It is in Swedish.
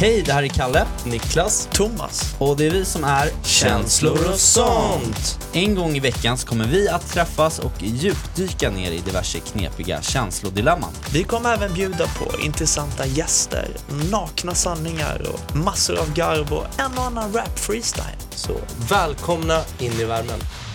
Hej, det här är Kalle, Niklas Thomas. och det är vi som är En gång i veckan så kommer vi att träffas och djupdyka ner i diverse knepiga känslodilemman. Vi kommer även bjuda på intressanta gäster, nakna sanningar och massor av garv och en och annan rap-freestyle. Så välkomna in i värmen.